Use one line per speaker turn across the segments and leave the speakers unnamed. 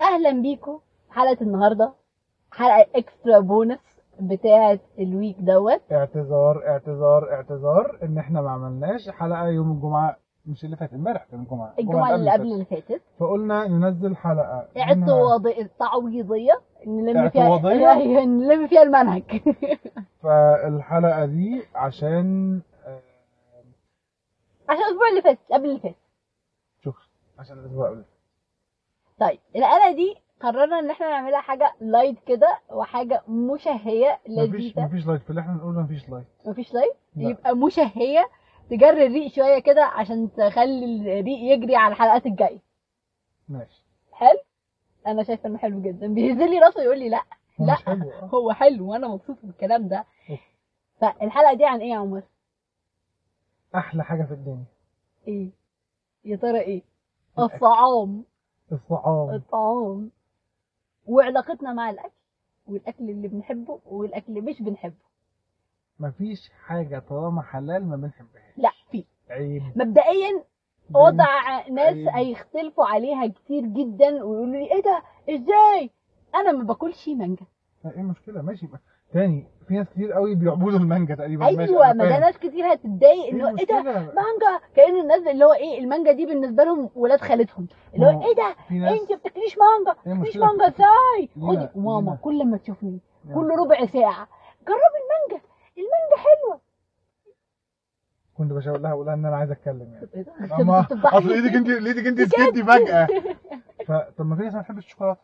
اهلا بيكم حلقه النهارده حلقه اكسترا بونس بتاعه الويك دوت
اعتذار اعتذار اعتذار ان احنا ما عملناش حلقه يوم الجمعه مش اللي فات امبارح كان الجمعه
الجمعه اللي قبل اللي فاتت
فاتت. فقلنا ننزل حلقه منها-
اعتواض تعويضيه نلم فيها
اعتواضية؟
أيوة، نلم فيها المنهج
فالحلقه دي عشان آه،
عشان الاسبوع اللي فات قبل اللي فات
شوف عشان الاسبوع اللي فات.
طيب الحلقه دي قررنا ان احنا نعملها حاجه لايت كده وحاجه مشهيه
مفيش
لذيذه
مفيش لايت في اللي احنا بنقوله مفيش لايت
مفيش لايت
لا.
يبقى مشهيه تجري الريق شويه كده عشان تخلي الريق يجري على الحلقات الجايه
ماشي
حلو انا شايفه انه حلو جدا بيهزلي راسه يقول لي لا
هو
لا.
مش حلو آه.
هو حلو وانا مبسوط بالكلام ده
أوف.
فالحلقه دي عن ايه يا عمر
احلى حاجه في الدنيا
ايه يا ترى ايه الطعام
الطعام
الطعام وعلاقتنا مع الاكل والاكل اللي بنحبه والاكل اللي مش بنحبه
مفيش حاجه طالما حلال ما بنحبهاش
لا في
عيب
مبدئيا وضع ناس
أيوة.
هيختلفوا عليها كتير جدا ويقولوا لي ايه ده ازاي انا ما باكلش مانجا
لا، ايه المشكله ماشي ما- تاني في ناس كتير قوي بيعبدوا المانجا تقريبا ماشي
ايوه
أنا
ما ده
فاهم.
ناس كتير هتتضايق
إيه
انه ايه ده
المشكلة؟
مانجا كان الناس اللي هو ايه المانجا دي بالنسبه لهم ولاد خالتهم اللي
ما
هو
هو
ايه ده
في ناس إيه.
انت بتاكليش مانجا
ايه
بتاكليش
المشكله
مانجا ازاي
لينا-
خدي ماما
لينا.
كل ما تشوفني
يعني
كل ربع ساعه جربي المانجا المانجا حلوه
كنت بشاور لها اقول لها ان انا عايز اتكلم يعني
طب إيه ده؟ أنت
اما
بتفضحني
اصل ايدك انت ايدك انت سكتي فجاه فطب ما في ناس ما بتحبش الشوكولاته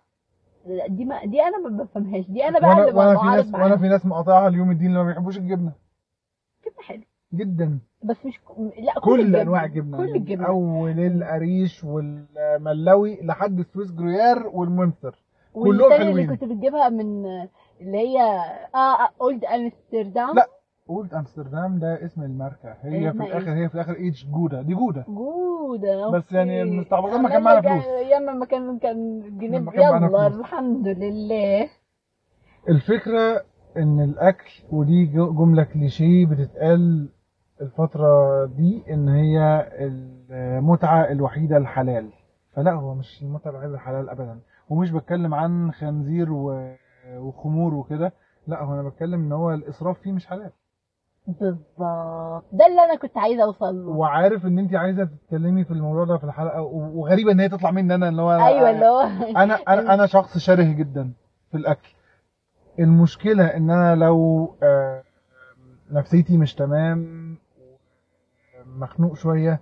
دي ما دي انا ما بفهمهاش دي انا بقى
وانا
اللي ببقى
وانا في ناس
عارف
وانا
معاها
في ناس مقاطعها اليوم الدين اللي ما بيحبوش الجبنه
كده حلو
جدا
بس مش ك- لا كل,
كل يعني.
الجبن.
انواع الجبنه
كل الجبن
من اول القريش والملوي لحد السويس جروير والمونستر كلهم
والتانية اللي
حلوين.
كنت بتجيبها من اللي هي اه اولد امستردام
لا. قلت امستردام ده اسم الماركه هي في
اسمها
الاخر هي في الاخر ايتش جوده دي جوده
جودة
بس يعني
أوكي.
المستعبطين ما كان
عمال
معانا
يرجع-
فلوس.
ياما ما كان كان جنيه
لما كان معانا
يلا
فلوس.
الحمد لله
الفكرة إن الأكل ودي جو- جملة كليشيه بتتقال الفترة دي إن هي المتعة الوحيدة الحلال فلا هو مش المتعة الوحيدة الحلال أبدا ومش بتكلم عن خنزير و- وخمور وكده لا هو أنا بتكلم إن هو الإسراف فيه مش حلال
بالظبط ده اللي انا كنت عايزه اوصل له
وعارف إن أنت عايزة تتكلمي في الموضوع ده في الحلقة و- وغريبة إن هي تطلع مني أنا اللي هو أنا-
ايوه اللي هو
انا انا انا شخص شره جدا في الاكل المشكله ان انا لو آه، نفسيتي مش تمام مخنوق شويه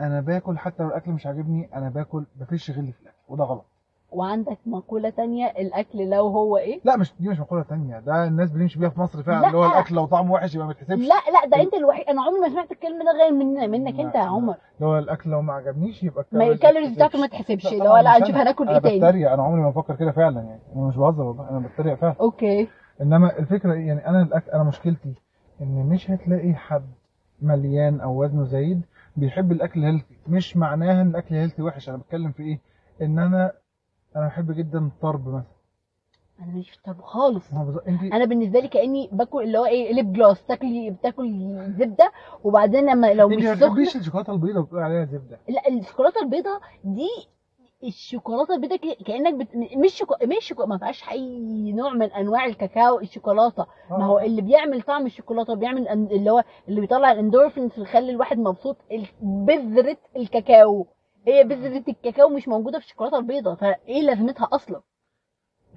انا باكل حتى لو الاكل مش عاجبني انا باكل بفش غلي في الاكل وده غلط
وعندك مقوله تانية الاكل لو هو ايه
لا مش دي مش مقوله تانية ده الناس بتمشي بيها في مصر فعلا
لا.
اللي هو الاكل لو طعمه وحش يبقى ما يتحسبش
لا لا ده انت الوحيد انا عمري ما سمعت الكلمه ده غير من منك
لا،
انت يا
لا.
عمر
اللي هو الاكل لو ما عجبنيش يبقى
ما الكالوريز بتاعته ما تحسبش
لا
اللي هو
طبعاً
لا
مش
هنشوف
أنا.
هناكل
انا
ايه تاني
بتريق انا عمري ما بفكر كده فعلا يعني انا مش بهزر والله انا بتريق فعلا
اوكي
انما الفكره إيه؟ يعني انا الأك... انا مشكلتي ان مش هتلاقي حد مليان او وزنه زايد بيحب الاكل هيلثي مش معناها ان الاكل هيلثي وحش انا بتكلم في ايه ان انا انا بحب جدا الطرب مثلا
انا مش في الطب خالص
ما هو بز... انت
انا بالنسبه لي كاني باكل اللي هو ايه ليب جلاس تاكلي بتاكل زبده وبعدين لما لو
انت
مش
ما
سخنه
بتحبيش الشوكولاته البيضاء وبتقول عليها زبده
لا الشوكولاته البيضاء دي الشوكولاته البيضاء ك- كانك بت... مش شوكو... مش شوكو... ما فيهاش اي نوع من انواع الكاكاو الشوكولاته ما هو إيه؟ اللي بيعمل طعم الشوكولاته بيعمل أن- اللي هو اللي بيطلع الاندورفينز اللي يخلي الواحد مبسوط ال- بذره الكاكاو هي بذره الكاكاو مش موجوده في الشوكولاته البيضاء فايه لازمتها اصلا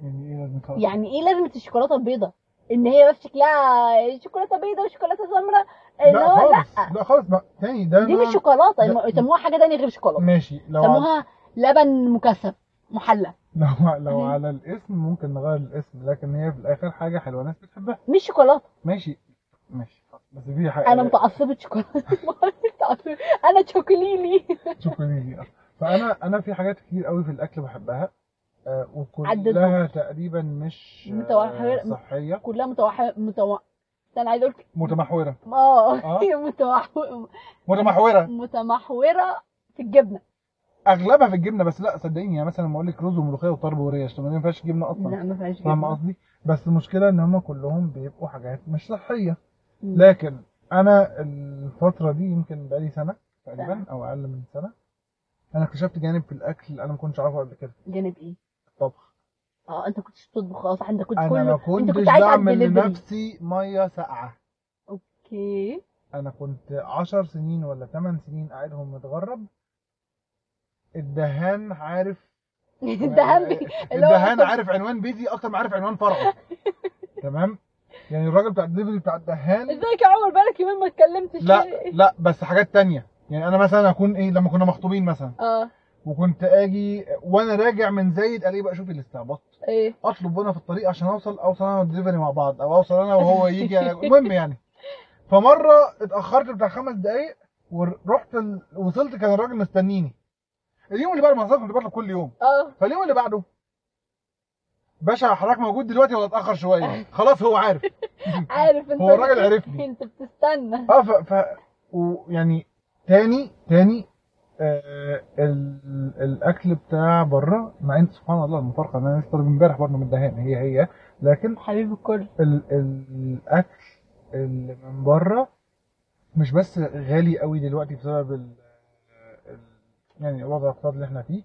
يعني ايه لازم يطلع-
يعني ايه لازمه الشوكولاته البيضاء ان هي بس شكلها شوكولاته بيضاء وشوكولاته سمراء اللي
لا
هو
خالص لا خالص بقى تاني ده
دي
أنا-
مش شوكولاته
لا.
يسموها حاجه تانية غير شوكولاته
ماشي لو على...
سموها لبن مكثف محلى
لو لو
مم.
على الاسم ممكن نغير الاسم لكن هي في الاخر حاجه حلوه الناس بتحبها
مش شوكولاته
ماشي ماشي بس في حاجه
انا متعصبه شوكولاته متعصبة. انا تشوكليلي
شكرا ليك أصلاً. فانا انا في حاجات كتير قوي في الاكل بحبها آه، وكلها
عددهم.
تقريبا مش آه،
متوحرة-
صحيه
كلها متوحد متو انا عايزه اقول
متمحوره
اه
آه.
هي متوح-
متمحوره
متمحوره في الجبنه
اغلبها في الجبنه بس لا صدقيني يعني مثلا لما اقول لك رز وملوخيه وطرب وريش طب ما دي ما فيهاش جبنه اصلا
لا ما فيهاش
فاهم
جبنه
قصدي بس المشكله ان هم كلهم بيبقوا حاجات مش صحيه
مم.
لكن انا الفتره دي يمكن بقالي سنه تقريبا او اقل من سنه انا اكتشفت جانب في الاكل انا ما كنتش اعرفه قبل كده
جانب ايه
ف- الطبخ
اه انت كنتش بتطبخ خلاص عندك كنت
انا ما
كله
كنتش
كنت عايش على
بعمل
الدليفري.
لنفسي ميه ساقعه
اوكي
انا كنت عشر سنين ولا ثمان سنين قاعدهم متغرب الدهان عارف
ده همي اللي هو
الدهان
مثلاً-
عارف عنوان بيتي اكتر ما عارف عنوان فرعه تمام يعني الراجل بتاع الدليفري بتاع الدهان
ازيك يا عمر بقالك يومين ما اتكلمتش
لا لا بس حاجات تانية يعني انا مثلا اكون ايه لما كنا مخطوبين مثلا
اه
وكنت اجي وانا راجع من زايد الاقيه بقى شوف الاستعباط
ايه
اطلب وانا في الطريق عشان اوصل اوصل انا والدليفري مع بعض او اوصل انا وهو يجي المهم يعني فمره اتاخرت بتاع خمس دقايق ورحت ال... وصلت كان الراجل مستنيني اليوم اللي بعد ما حصل كنت بطلب كل يوم
اه
فاليوم اللي بعده باشا حضرتك موجود دلوقتي ولا اتاخر شويه خلاص هو عارف
عارف انت
هو الراجل عرفني.
انت بتستنى
اه ف, ف... ويعني تاني تاني آه ال... الاكل بتاع بره مع ان سبحان الله المفارقه إن انا لسه طالب امبارح برضه من الدهان هي هي لكن
حبيب الكل
ال- ال- الاكل اللي من بره مش بس غالي قوي دلوقتي بسبب ال ال- يعني الوضع الاقتصادي اللي احنا فيه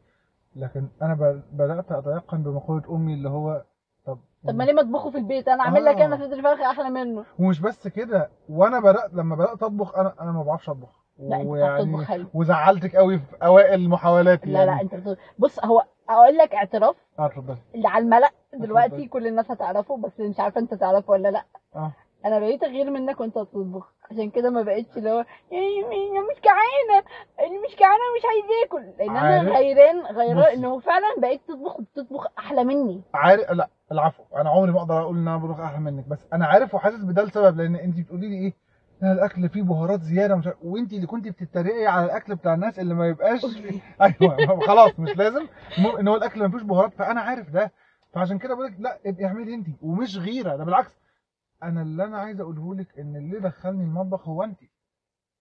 لكن انا ب- بدات اتيقن بمقوله امي اللي هو طب
طب ما ليه ما اطبخه في البيت انا اعمل لك
آه.
انا صدر فرخ احلى منه
ومش بس كده وانا بدات لما بدات اطبخ انا انا ما بعرفش اطبخ
لا انت بتعرف تطبخ حلو
وزعلتك قوي في اوائل محاولاتي
لا لا انت بتطبخ. بص هو اقول لك اعتراف
اه اتفضل
اللي على الملأ دلوقتي
اتفضل.
كل الناس هتعرفه بس مش عارفه انت تعرفه ولا لا
اه
انا بقيت اغير منك وانت بتطبخ عشان كده ما بقتش اللي هو "إيه، مين- مش جعانه اللي مش جعانه مش عايز ياكل لان
عارف؟
انا غيران غيران
بصي.
انه فعلا بقيت تطبخ وبتطبخ احلى مني
عارف لا العفو انا عمري ما اقدر اقول ان انا بروح احلى منك بس انا عارف وحاسس بده لسبب لان انت بتقولي لي ايه لا الاكل فيه بهارات زياده مش عارف- وانت اللي كنت بتتريقي على الاكل بتاع الناس اللي ما يبقاش ايوه ما- خلاص مش لازم المهم ان هو الاكل ما فيهوش بهارات فانا عارف ده فعشان كده بقول لك لا ابقي اعملي انت ومش غيره ده بالعكس انا اللي انا عايز اقوله لك ان اللي دخلني المطبخ هو انت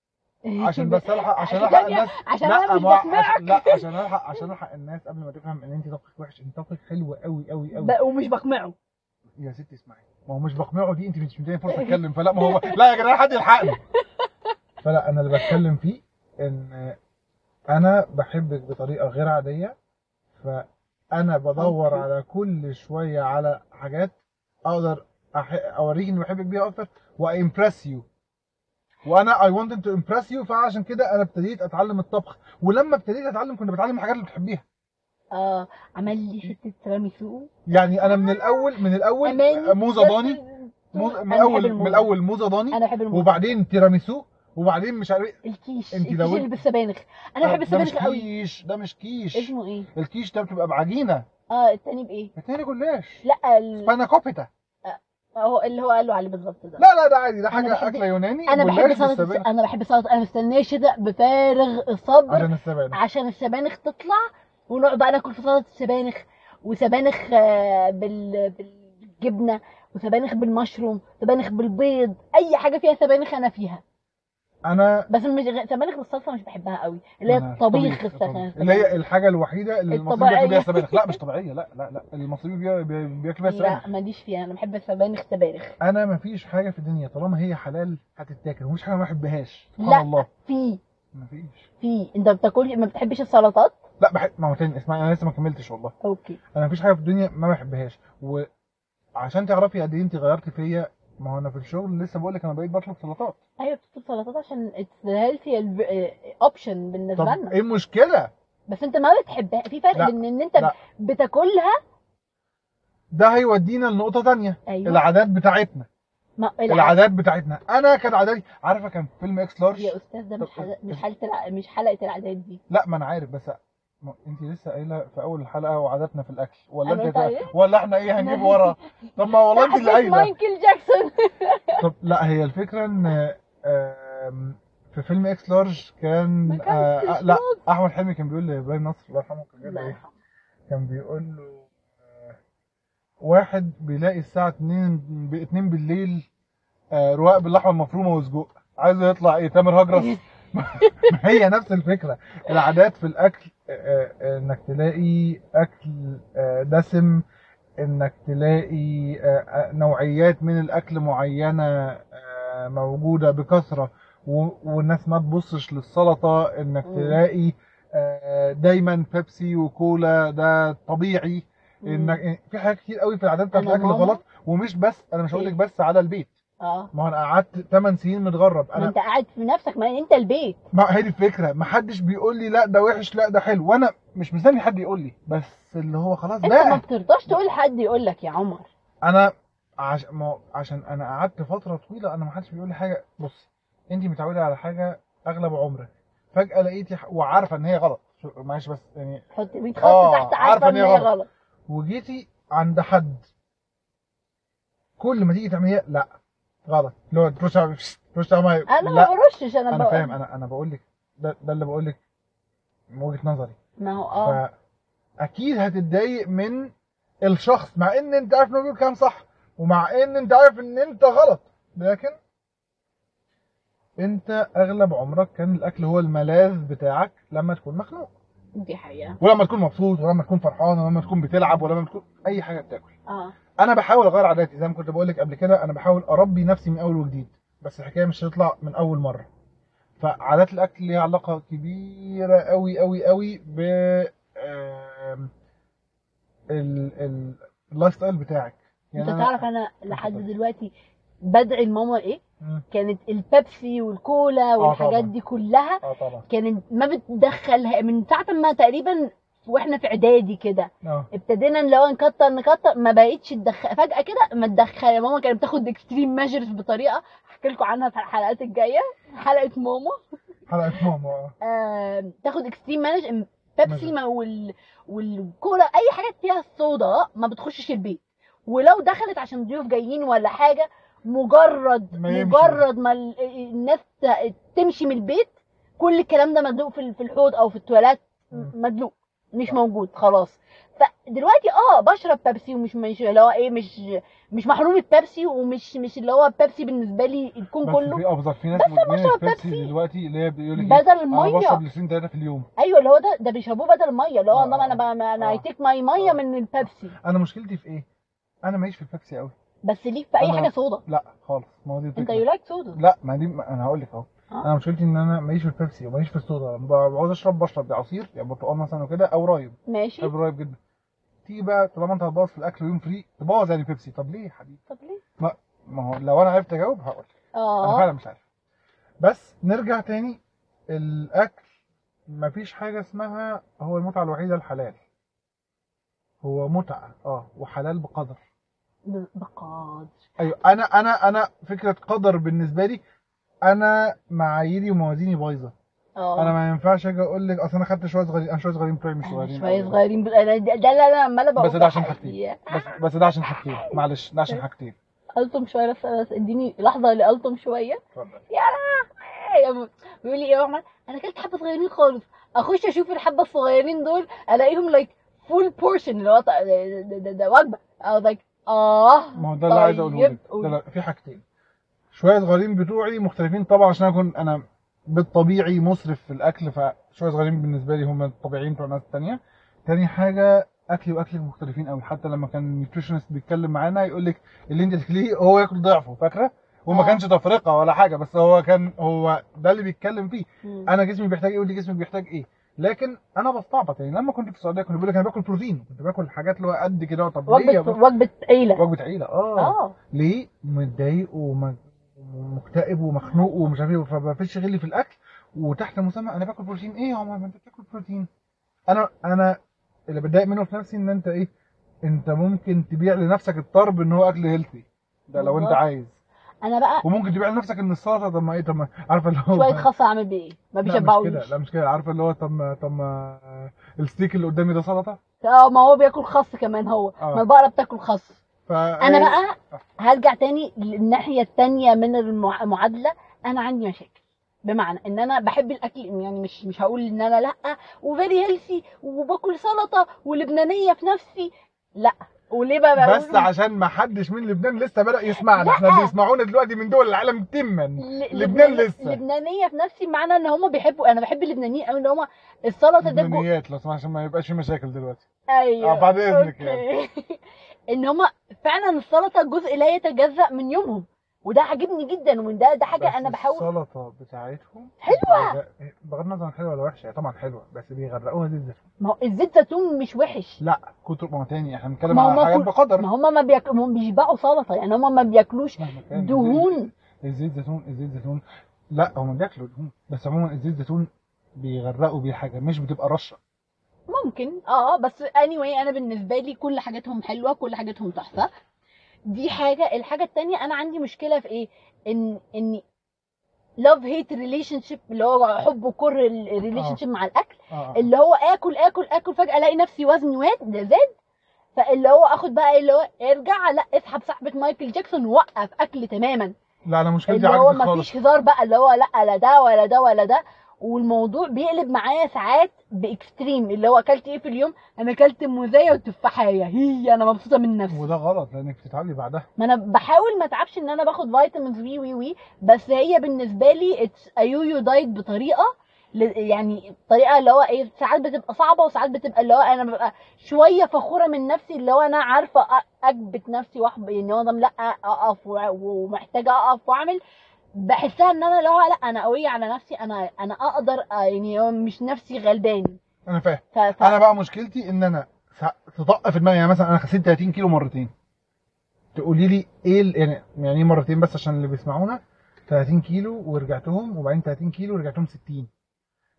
عشان بس الحق عشان الحق
عشان-
الناس
عشان
لا
انا مش
ما- عش-
بقنعك
لا عشان الحق عشان الحق الناس قبل ما تفهم ان انت طبخك وحش انت طبخك حلو قوي قوي قوي
ب- ومش بقنعه
يا ستي اسمعي ما هو مش بقنعه دي انت مش مديني فرصه اتكلم فلا ما هو لا يا جدعان حد يلحقني فلا انا اللي بتكلم فيه ان انا بحبك بطريقه غير عاديه فانا بدور على كل شويه على حاجات اقدر أح... اوريك اني بحبك بيها اكتر وامبرس يو وانا اي wanted تو امبرس يو فعشان كده انا ابتديت اتعلم الطبخ ولما ابتديت اتعلم كنت بتعلم الحاجات اللي بتحبيها
اه عمل لي حته تيراميسو
يعني انا من الاول من الاول
أمان.
موزه ضاني موز...
أنا
من
بحب
الاول
الموز.
من الاول موزه ضاني
انا بحب الموز
وبعدين تيراميسو وبعدين مش عارف ايه
الكيش
انت
الكيش
لو- آه،
اللي بالسبانخ انا بحب
ده مش
السبانخ قوي
كيش ده مش كيش
اسمه ايه
الكيش ده بتبقى بعجينه
اه التاني بايه
التاني جلاش
لا ال...
بانا كوبيتا
هو اللي هو قال له عليه بالظبط ده
لا لا ده عادي ده
أنا بحب-
حاجه اكله يوناني
انا بحب
جلاش
سلطه
بالسبانخ.
انا بحب سلطه انا مستنيه شتاء بفارغ الصبر
عشان السبانخ
عشان السبانخ تطلع ونقعد بقى ناكل في سلطه السبانخ وسبانخ آه، بال... بالجبنه وسبانخ بالمشروم سبانخ بالبيض اي حاجه فيها سبانخ انا فيها
انا
بس مش غ- سبانخ بالصلصه مش بحبها قوي اللي هي
أنا
الطبيخ
الطبيخ.
السبانخ.
اللي هي الحاجه الوحيده اللي المصريين
الطبيعية.
بياكلوا بيها السبانخ لا مش طبيعيه لا لا لا المصريين بي- بي- بياكلوا بيها السبانخ
لا ماليش فيها انا بحب السبانخ سبانخ
انا مفيش حاجه في الدنيا طالما هي حلال هتتاكل ومفيش حاجه ما بحبهاش
لا.
سبحان الله
في
مفيش
في انت بتاكل ما بتحبش السلطات
لا بحب ما هو تاني اسمعي انا لسه ما كملتش والله
اوكي
انا مفيش حاجه في الدنيا ما بحبهاش وعشان تعرفي قد ايه انت غيرتي فيا ما هو انا في الشغل لسه بقول لك انا بقيت بطلب سلطات
ايوه بتطلب سلطات عشان الهيلثي اوبشن بالنسبه
طب
آه، لنا
ايه المشكله
بس انت ما بتحبها في فرق
لا،
بين ان انت
لا.
بتاكلها
ده هيودينا لنقطه تانية
ايوه
العادات بتاعتنا
ما
العادات بتاعتنا انا كان عاداتي عارفه كان فيلم اكس لارج
يا استاذ ده مش
طب-
حلقة مش حلقه الع... مش حلقه العادات دي
لا ما انا عارف بس ما انت لسه قايله في اول الحلقه وعاداتنا في الاكل ولا
أنا
انت
طيب.
ولا احنا ايه هنجيب ورا طب ما والله انت اللي
حسيت
قايله
مايكل جاكسون
طب لا هي الفكره ان آم، في فيلم اكس لارج كان
ما كانش
آه، آه، لا
شاطر.
احمد حلمي كان بيقول لابراهيم نصر الله يرحمه كان بيقول له
الله
ايه
يرحمه.
كان بيقول له آه، واحد بيلاقي الساعه 2 ب 2 بالليل آه، رواق باللحمه المفرومه وسجق عايز يطلع ايه تامر هجرس ما هي نفس الفكره العادات في الاكل آه، آه، انك تلاقي اكل آه، دسم انك تلاقي آه، آه، نوعيات من الاكل معينه آه، موجوده بكثره و- والناس ما تبصش للسلطه انك
مم.
تلاقي آه، دايما بيبسي وكولا ده طبيعي انك إن- في حاجات كتير قوي في العادات بتاعت
أنا
الاكل
ماما- إيه؟
غلط ومش بس انا مش هقول لك بس على البيت
اه
ما هو انا قعدت 8 سنين متغرب
ما
انا
انت قاعد في نفسك ما انت البيت
ما هي دي الفكره ما حدش بيقول لي لا ده وحش لا ده حلو وانا مش مستني حد يقول لي بس اللي هو خلاص
انت ما
بقى
بترضاش تقول حد يقول لك يا عمر
انا عش... ما... عشان انا قعدت فتره طويله انا ما حدش بيقول لي حاجه بص انت متعوده على حاجه اغلب عمرك فجاه لقيتي ح... وعارفه ان هي غلط شو- معلش بس يعني
حط 100
آه،
خط تحت
عارفة
عارفه ان
إن هي
هي
غلط.
غلط
وجيتي عند حد كل ما تيجي تعمليها لا غلط لو ترش على ترش على مية.
انا ما
لا
برشش انا
انا
بقول-
فاهم انا انا بقول لك ده, ده اللي بقول لك من وجهه نظري
ما هو اه
فاكيد هتتضايق من الشخص مع ان انت عارف انه بيقول كلام صح ومع ان انت عارف ان انت غلط لكن انت اغلب عمرك كان الاكل هو الملاذ بتاعك لما تكون مخنوق
دي حقيقه
ولما تكون مبسوط ولما تكون فرحان ولما تكون بتلعب ولما تكون اي حاجه بتاكل
اه
انا بحاول اغير عاداتي زي ما كنت بقول لك قبل كده انا بحاول اربي نفسي من اول وجديد بس الحكايه مش هتطلع من اول مره فعادات الاكل ليها علاقه كبيره قوي قوي قوي ب آم، ال ال اللايف ستايل بتاعك
انت
يعني أنا-
تعرف انا لحد
اتفضل.
دلوقتي بدعي لماما ايه
مم.
كانت البيبسي والكولا والحاجات
طبعاً.
دي كلها
اه طبعا
كانت ما بتدخلها من ساعه ما تقريبا واحنا في اعدادي كده
اه
ابتدينا اللي هو نكتر نكتر ما بقتش تدخل فجاه كده ما تدخل يا ماما كانت بتاخد اكستريم ميجرز بطريقه هحكي لكم عنها في الحلقات الجايه حلقه ماما
حلقه ماما آه.
آه، تاخد اكستريم مانج بيبسي
مانج.
ما وال... والكولا اي حاجه فيها الصودا ما بتخشش البيت ولو دخلت عشان ضيوف جايين ولا حاجه مجرد
ما يمشي.
مجرد ما ال- الناس ت- تمشي من البيت كل الكلام ده مدلوق في ال- في الحوض او في التواليت
مم.
مدلوق مش
صح.
موجود خلاص فدلوقتي اه بشرب بيبسي ومش مش اللي هو ايه مش مش محرومه بيبسي ومش مش اللي هو بيبسي بالنسبه لي الكون
بس
كله
في ابزر في ناس
بس
مدمنه
بشرب
البيبسي
بيبسي.
دلوقتي اللي هي بيقول لك
بدل
انا
الميه
بشرب لترين ثلاثه في اليوم
ايوه اللي هو ده ده بيشربوه بدل الميه اللي هو
آه.
انما انا بقى ما انا
آه.
اي تيك ماي ميه
آه.
من البيبسي
انا مشكلتي في ايه؟ انا ماليش في البيبسي قوي
بس ليك في اي
أنا-
حاجه صودا
لا خالص ما هو دي
انت
الفكرة.
يو لايك صودا
لا ما دي ما انا هقول لك اهو
آه.
انا مشكلتي ان انا ماليش في البيبسي وماليش في الصودا لما ب- بعوز اشرب بشرب يا عصير يا برتقال مثلا وكده او رايب
ماشي
بحب الرايب جدا تيجي بقى طالما انت هتبوظ في الاكل ويوم فري تبوظ يعني بيبسي طب ليه يا حبيبي
طب ليه
ما هو لو انا عرفت اجاوب هقول انا
اه
فعلا مش عارف بس نرجع تاني الاكل مفيش حاجه اسمها هو المتعه الوحيده الحلال هو متعه اه وحلال بقدر
ب- بقدر
ايوه انا انا انا فكره قدر بالنسبه لي انا معاييري وموازيني بايظه
اه
انا ما ينفعش اجي اقول لك اصل انا خدت شويه صغيرين انا شويه صغيرين بتوعي مش
أنا
صغيرين
شويه
أوي.
صغيرين بال- انا ده ده اللي انا عماله بقول
بس ده عشان
حقيقي.
بس بس ده عشان حاجتين معلش ده
طيب.
عشان حاجتين
التم شويه بس بس اديني لحظه لالتم شويه
اتفضل
يا م- بيقول لي ايه يا عمر انا اكلت حبه صغيرين خالص اخش اشوف الحبه الصغيرين دول الاقيهم لايك فول بورشن اللي هو ط- ده- ده- ده- ده وجبه او لايك اه
ما هو ده اللي عايز اقوله لك
طيب، قول.
ده لا، في حاجتين شويه صغيرين بتوعي مختلفين طبعا عشان اكون انا بالطبيعي مسرف في الاكل فشويه صغيرين بالنسبه لي هم الطبيعيين بتوع الناس التانيه تاني حاجه اكلي واكلك مختلفين قوي حتى لما كان النيوتريشنست بيتكلم معانا يقول لك اللي انت تاكليه هو ياكل ضعفه فاكره وما
آه.
كانش تفرقه ولا حاجه بس هو كان هو ده اللي بيتكلم فيه
مم.
انا جسمي بيحتاج ايه ودي جسمي بيحتاج ايه لكن انا بستعبط يعني لما كنت في السعوديه كنت بقول لك انا باكل بروتين كنت باكل حاجات اللي هو قد كده طب ليه يا
وجبه
بابا؟
وجبه عيله
وجبه عيله اه,
اه
ليه متضايق وم- ومكتئب ومخنوق ومش عارف ايه فما فيش غلي في الاكل وتحت مسمى انا باكل بروتين ايه يا عمر ما انت بتاكل بروتين انا انا اللي بتضايق منه في نفسي ان انت ايه انت ممكن تبيع لنفسك الطرب ان هو اكل هيلثي ده لو انت
بالظبط.
عايز
انا بقى
وممكن تبيع لنفسك ان السلطه طب ما ايه طب ما عارفه اللي هو
شويه خاصه اعمل بيه ايه ما
لا مش
بيشبعوش
كده لا مش كده عارفه اللي هو طب ما طب ما الستيك اللي قدامي ده سلطه
اه ما هو بياكل خس كمان هو
آه. إيه.
ما البقره بتاكل خس
فا
انا بقى هرجع تاني للناحيه التانية من المع- المعادله انا عندي مشاكل بمعنى ان انا بحب الاكل يعني مش مش هقول ان انا لا وفيري هيلثي وباكل سلطه ولبنانيه في نفسي لا وليه بقى
إيه؟ بس
بقول-
عشان ما حدش من لبنان لسه بدأ يسمعنا احنا
لأ.
بيسمعونا دلوقتي من دول العالم تما
ل-
لبنان
لبناني-
لسه.
لبنانيه في نفسي معنى ان هم بيحبوا انا بحب اللبنانيين قوي ان هم السلطه ده جو-
لبنانيات لو سمحت عشان ما يبقاش في مشاكل دلوقتي
ايوه
آه، بعد إذنك
أوكي. ان هما فعلا السلطه جزء لا يتجزا من يومهم وده عاجبني جدا وده ده حاجه انا بحاول
السلطه بتاعتهم
حلوة.
بيغ- بغض النظر عن حلوه ولا وحشه هي طبعا حلوه بس بيغرقوها زيت زيتون
ما هو الزيت زيتون مش وحش
لا كتر ما هو تاني احنا بنتكلم
ما هو
على
ما
حاجات
كل-
بقدر
ما هم ما بياك... هم بيشبعوا سلطه يعني هم ما بياكلوش
مهما كان الزيت-
دهون
الزيت زيتون الزيت زيتون لا هم بياكلوا دهون بس عموما الزيت زيتون بيغرقوا بيه حاجه مش بتبقى رشه
ممكن اه آه، بس anyway انا بالنسبه لي كل حاجاتهم حلوه كل حاجاتهم تحفه دي حاجه الحاجه التانية انا عندي مشكله في ايه ان ان لاف هيت ريليشن شيب اللي هو حب وكره
آه.
الريليشن شيب مع الاكل
اه آه.
اللي هو اكل اكل اكل فجاه الاقي نفسي وزني واد زاد فاللي هو اخد بقى إيه اللي هو ارجع لا اسحب سحبه مايكل جاكسون وقف اكل تماما
لا انا مشكلتي
اللي هو
عكسك
ما
خالص
فيش هزار بقى اللي هو لا لا ده ولا ده ولا ده والموضوع بيقلب معايا ساعات باكستريم اللي هو اكلت ايه في اليوم انا اكلت موزايه وتفاحيه هي انا مبسوطه من نفسي
وده غلط لانك بتتعبي بعدها
ما انا بحاول ما اتعبش ان انا باخد فيتامينز وي وي وي بس هي بالنسبه لي اتس يويو دايت بطريقه ل- يعني الطريقه اللي هو ايه ساعات بتبقى صعبه وساعات بتبقى اللي هو انا ببقى شويه فخوره من نفسي اللي هو انا عارفه أ- اثبت نفسي واحب يعني هو لا اقف وع- ومحتاجه اقف واعمل بحسها ان انا اللي هو لا انا قويه على نفسي انا انا اقدر أ- يعني هو مش نفسي غلباني
انا فاهم
ف... ف...
انا بقى مشكلتي ان انا سا- تطق في دماغي يعني مثلا انا خسيت 30 كيلو مرتين تقولي لي ايه ال- يعني يعني ايه مرتين بس عشان اللي بيسمعونا 30 كيلو ورجعتهم وبعدين 30 كيلو ورجعتهم 60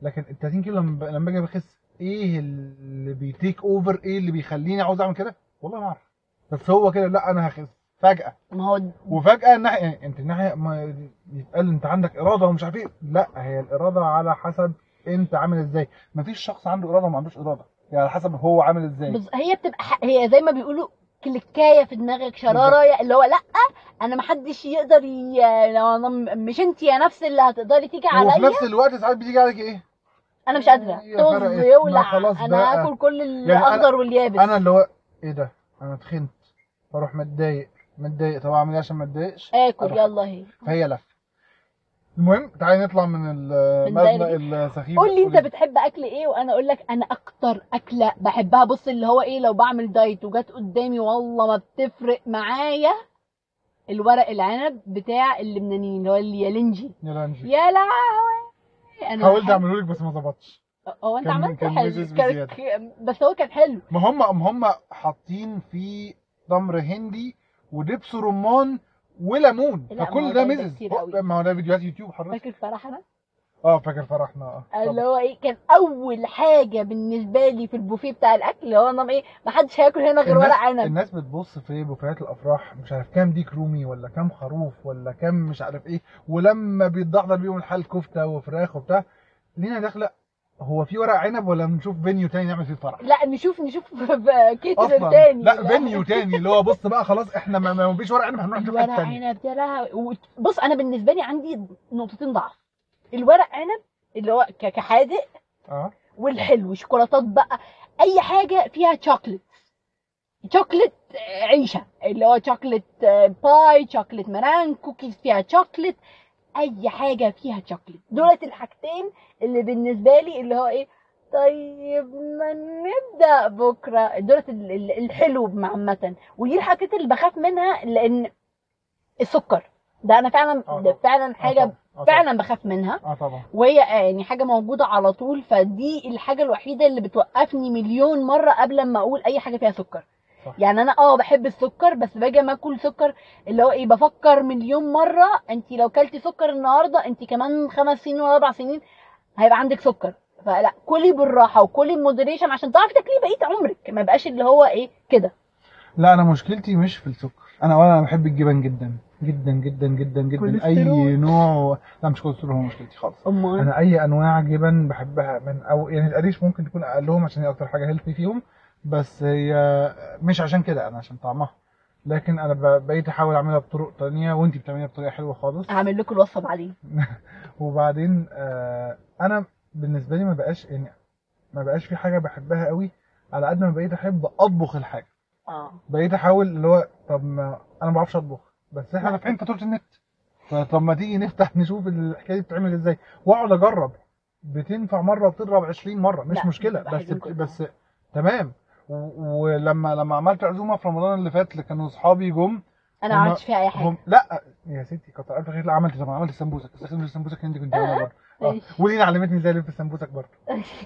لكن ال 30 كيلو لما ب- لما اجي بخس ايه اللي بيتيك اوفر ايه اللي بيخليني عاوز اعمل كده والله ما اعرف بس هو كده لا انا هخس فجاه
ما هو
وفجاه الناحيه يعني انت الناحيه ما يتقال انت عندك اراده ومش عارف ايه لا هي الاراده على حسب انت عامل ازاي مفيش شخص عنده اراده وما عندوش اراده يعني على حسب هو عامل ازاي
بز... هي بتبقى ح... هي زي ما بيقولوا كلكايه في دماغك شراره يا- اللي هو لا انا محدش يقدر ي... لو أنا م- مش انت يا نفس اللي هتقدري تيجي
وفي
عليا
نفس إيه، الوقت ساعات بتيجي عليك ايه
انا مش قادره
هي فرقت.
طز
ما
يولع
خلاص
انا
بقى.
هاكل كل
يعني أنا-
الاخضر واليابس
انا اللي هو ايه ده انا اتخنت اروح متضايق متضايق طب اعمل ايه عشان ما اتضايقش
اكل
أروح.
يلا هي
فهي لفه المهم تعالي نطلع من المبنى السخيف
قول لي انت بتحب اكل ايه وانا اقول لك انا اكتر اكله بحبها بص اللي هو ايه لو بعمل دايت وجت قدامي والله ما بتفرق معايا الورق العنب بتاع اللبنانيين اللي هو اليالنجي
يا لانجي
يا لهوي انا
حاولت
بحب-
اعمله لك بس ما ظبطش
هو انت
كان-
عملت
كان
حلو
لذيذ
كان-
بزيادة.
ك- بس هو كان حلو
ما هم ما هم حاطين فيه تمر هندي ودبس رمان وليمون
لا، ما هو
فكل
ده-
ده
ده
مزز
كتير قوي.
ما هو ده فيديوهات يوتيوب حضرتك
فاكر فرحنا
اه فاكر فرحنا اه
اللي
طبعاً.
هو ايه كان اول حاجه بالنسبه لي في البوفيه بتاع الاكل اللي هو نظام ايه ما حدش هياكل هنا غير ورق
الناس,
عنب
الناس بتبص في بوفيهات الافراح مش عارف كام ديك رومي ولا كام خروف ولا كام مش عارف ايه ولما بيتدحضر بيهم الحال كفته وفراخ وبتاع لينا داخله هو في ورق عنب ولا نشوف فينيو تاني نعمل فيه فرح
لا نشوف نشوف كيتر
اصلا
تاني
لا فينيو تاني اللي هو بص بقى خلاص احنا ما- ما فيش ورق عنب هنروح نشوف
الورق
حاجه تانيه
عنب يا لهوي وت- بص انا بالنسبه لي عندي نقطتين ضعف الورق عنب اللي هو ك- كحادق
اه
والحلو شوكولاتات بقى اي حاجه فيها شوكليت شوكليت آه، عيشه اللي هو شوكليت آه، باي شوكليت مران كوكيز فيها شوكليت اي حاجه فيها شوكليت دولت الحاجتين اللي بالنسبه لي اللي هو ايه طيب ما نبدا بكره دولت ال- ال- الحلو عامه ودي الحاجات اللي بخاف منها لان السكر ده انا فعلا
آه
ده
طبعاً.
فعلا
آه
حاجه
طبعاً. آه طبعاً.
فعلا بخاف منها
اه طبعا
وهي آه، يعني حاجه موجوده على طول فدي الحاجه الوحيده اللي بتوقفني مليون مره قبل ما اقول اي حاجه فيها سكر
صح.
يعني انا اه بحب السكر بس باجي ما اكل سكر اللي هو ايه بفكر مليون مره انت لو كلتي سكر النهارده انت كمان خمس سنين ولا اربع سنين هيبقى عندك سكر فلا كلي بالراحه وكلي بمودريشن عشان تعرفي تاكليه بقيه عمرك ما يبقاش اللي هو ايه كده
لا انا مشكلتي مش في السكر انا اولا انا بحب الجبن جدا جدا جدا جدا جدا اي
كوليسترول.
نوع لا مش كوليسترول هو مشكلتي خالص
امال
انا اي انواع جبن بحبها من او يعني القريش ممكن تكون اقلهم عشان هي اكتر حاجه هيلثي فيهم بس هي مش عشان كده انا عشان طعمها لكن انا ب- بقيت احاول اعملها بطرق تانية وانتي بتعمليها بطريقه حلوه خالص
هعمل لكم الوصفه بعدين
وبعدين آه، انا بالنسبه لي ما بقاش يعني ما بقاش في حاجه بحبها قوي على قد ما بقيت احب اطبخ الحاجه
اه
بقيت احاول اللي هو طب ما انا ما بعرفش اطبخ بس احنا
لا.
فاتحين فاتوره النت فطب ما تيجي نفتح نشوف الحكايه دي بتتعمل ازاي واقعد اجرب بتنفع مره وبتضرب 20 مره مش
لا،
مشكله
بتبقى
بس
حلوة
بت...
كلها.
بس تمام و- ولما لما عملت عزومه في رمضان اللي فات اللي كانوا اصحابي جم
انا ما
هما-
عملتش فيها اي حاجه
هم لا يا ستي كتر الف خير لا عملت طب عملت السمبوسك بس خدمة السمبوسك عندي كنت بعملها برضه آه.
ماشي.
ولينا علمتني ازاي الف السمبوسك برضه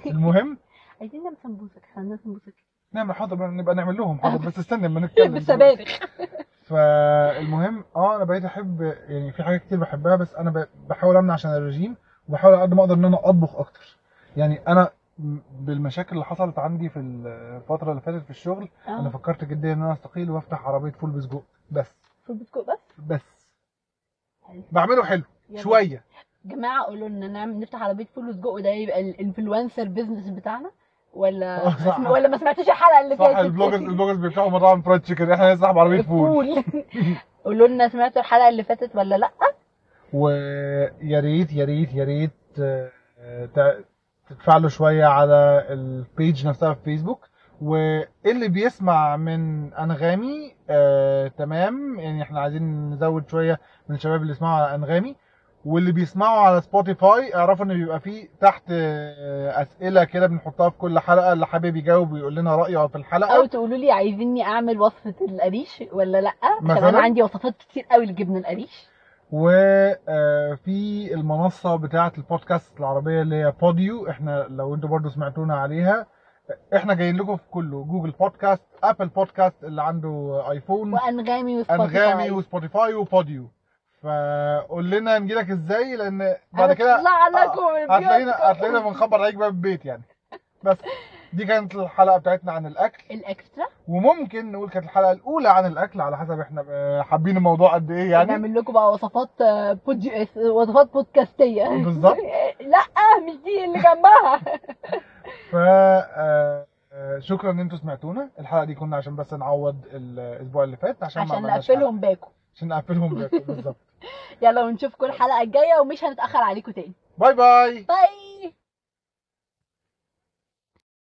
المهم
عايزين نعمل سمبوسك خلينا سمبوسك
نعمل حاضر بقى، نبقى نعمل لهم حاضر بس استنى لما نتكلم دلوقتي.
بالسبانخ
فالمهم اه انا بقيت احب يعني في حاجات كتير بحبها بس انا ب- بحاول امنع عشان الرجيم وبحاول على قد ما اقدر ان انا اطبخ اكتر يعني انا م- بالمشاكل اللي حصلت عندي في الفتره اللي فاتت في الشغل انا
اه
فكرت جديا ان انا استقيل وافتح عربيه فول بسجق بس
في بيتكم بس
بس
حلو.
بعمله حلو
يلا.
شويه
جماعه قولوا لنا نعمل نفتح عربيه فول وسجق وده يبقى الانفلونسر بيزنس بتاعنا ولا
آه، صح.
ولا ما سمعتوش الحلقه اللي
صح
فاتت
البلوجرز البلوجرز بيفتحوا مطاعم فرايد تشيكن احنا نفتح عربيه
فول
فول
قولوا لنا سمعتوا الحلقه اللي فاتت ولا لا
ويا ريت يا ريت يا ريت آه، آه، تع- تتفاعلوا شويه على البيج نفسها في فيسبوك واللي بيسمع من انغامي آه، تمام يعني احنا عايزين نزود شويه من الشباب اللي يسمعوا على انغامي واللي بيسمعوا على سبوتيفاي اعرفوا ان بيبقى فيه تحت آه، اسئله كده بنحطها في كل حلقه اللي حابب يجاوب ويقول لنا رايه في الحلقه
او تقولوا لي عايزيني اعمل وصفه القريش ولا لا عشان
مثلاً؟
انا عندي وصفات كتير قوي لجبن القريش
وفي المنصه بتاعه البودكاست العربيه اللي هي بوديو احنا لو انتوا برضو سمعتونا عليها احنا جايين لكم في كله جوجل بودكاست ابل بودكاست اللي عنده ايفون
وانغامي وسبوتيفاي
انغامي وسبوتيفاي وبوديو فقول لنا نجيلك ازاي لان بعد كده آه،
هنطلع لكم البيوت.
هتلاقينا هتلاقينا بنخبط عليك باب البيت يعني بس دي كانت الحلقه بتاعتنا عن الاكل
الاكسترا
وممكن نقول كانت الحلقه الاولى عن الاكل على حسب احنا آه، حابين الموضوع قد ايه يعني
نعمل لكم بقى وصفات آه، بودج... وصفات بودكاستيه
بالظبط.
لا مش دي اللي جنبها
ف آه، آه، شكرا ان انتوا سمعتونا الحلقه دي كنا عشان بس نعوض الاسبوع اللي فات عشان, ما
عشان
عملناش حلقة.
نقفلهم باكم
عشان نقفلهم بيكم بالظبط
يلا ونشوفكم الحلقه الجايه ومش هنتاخر عليكم تاني
باي باي
باي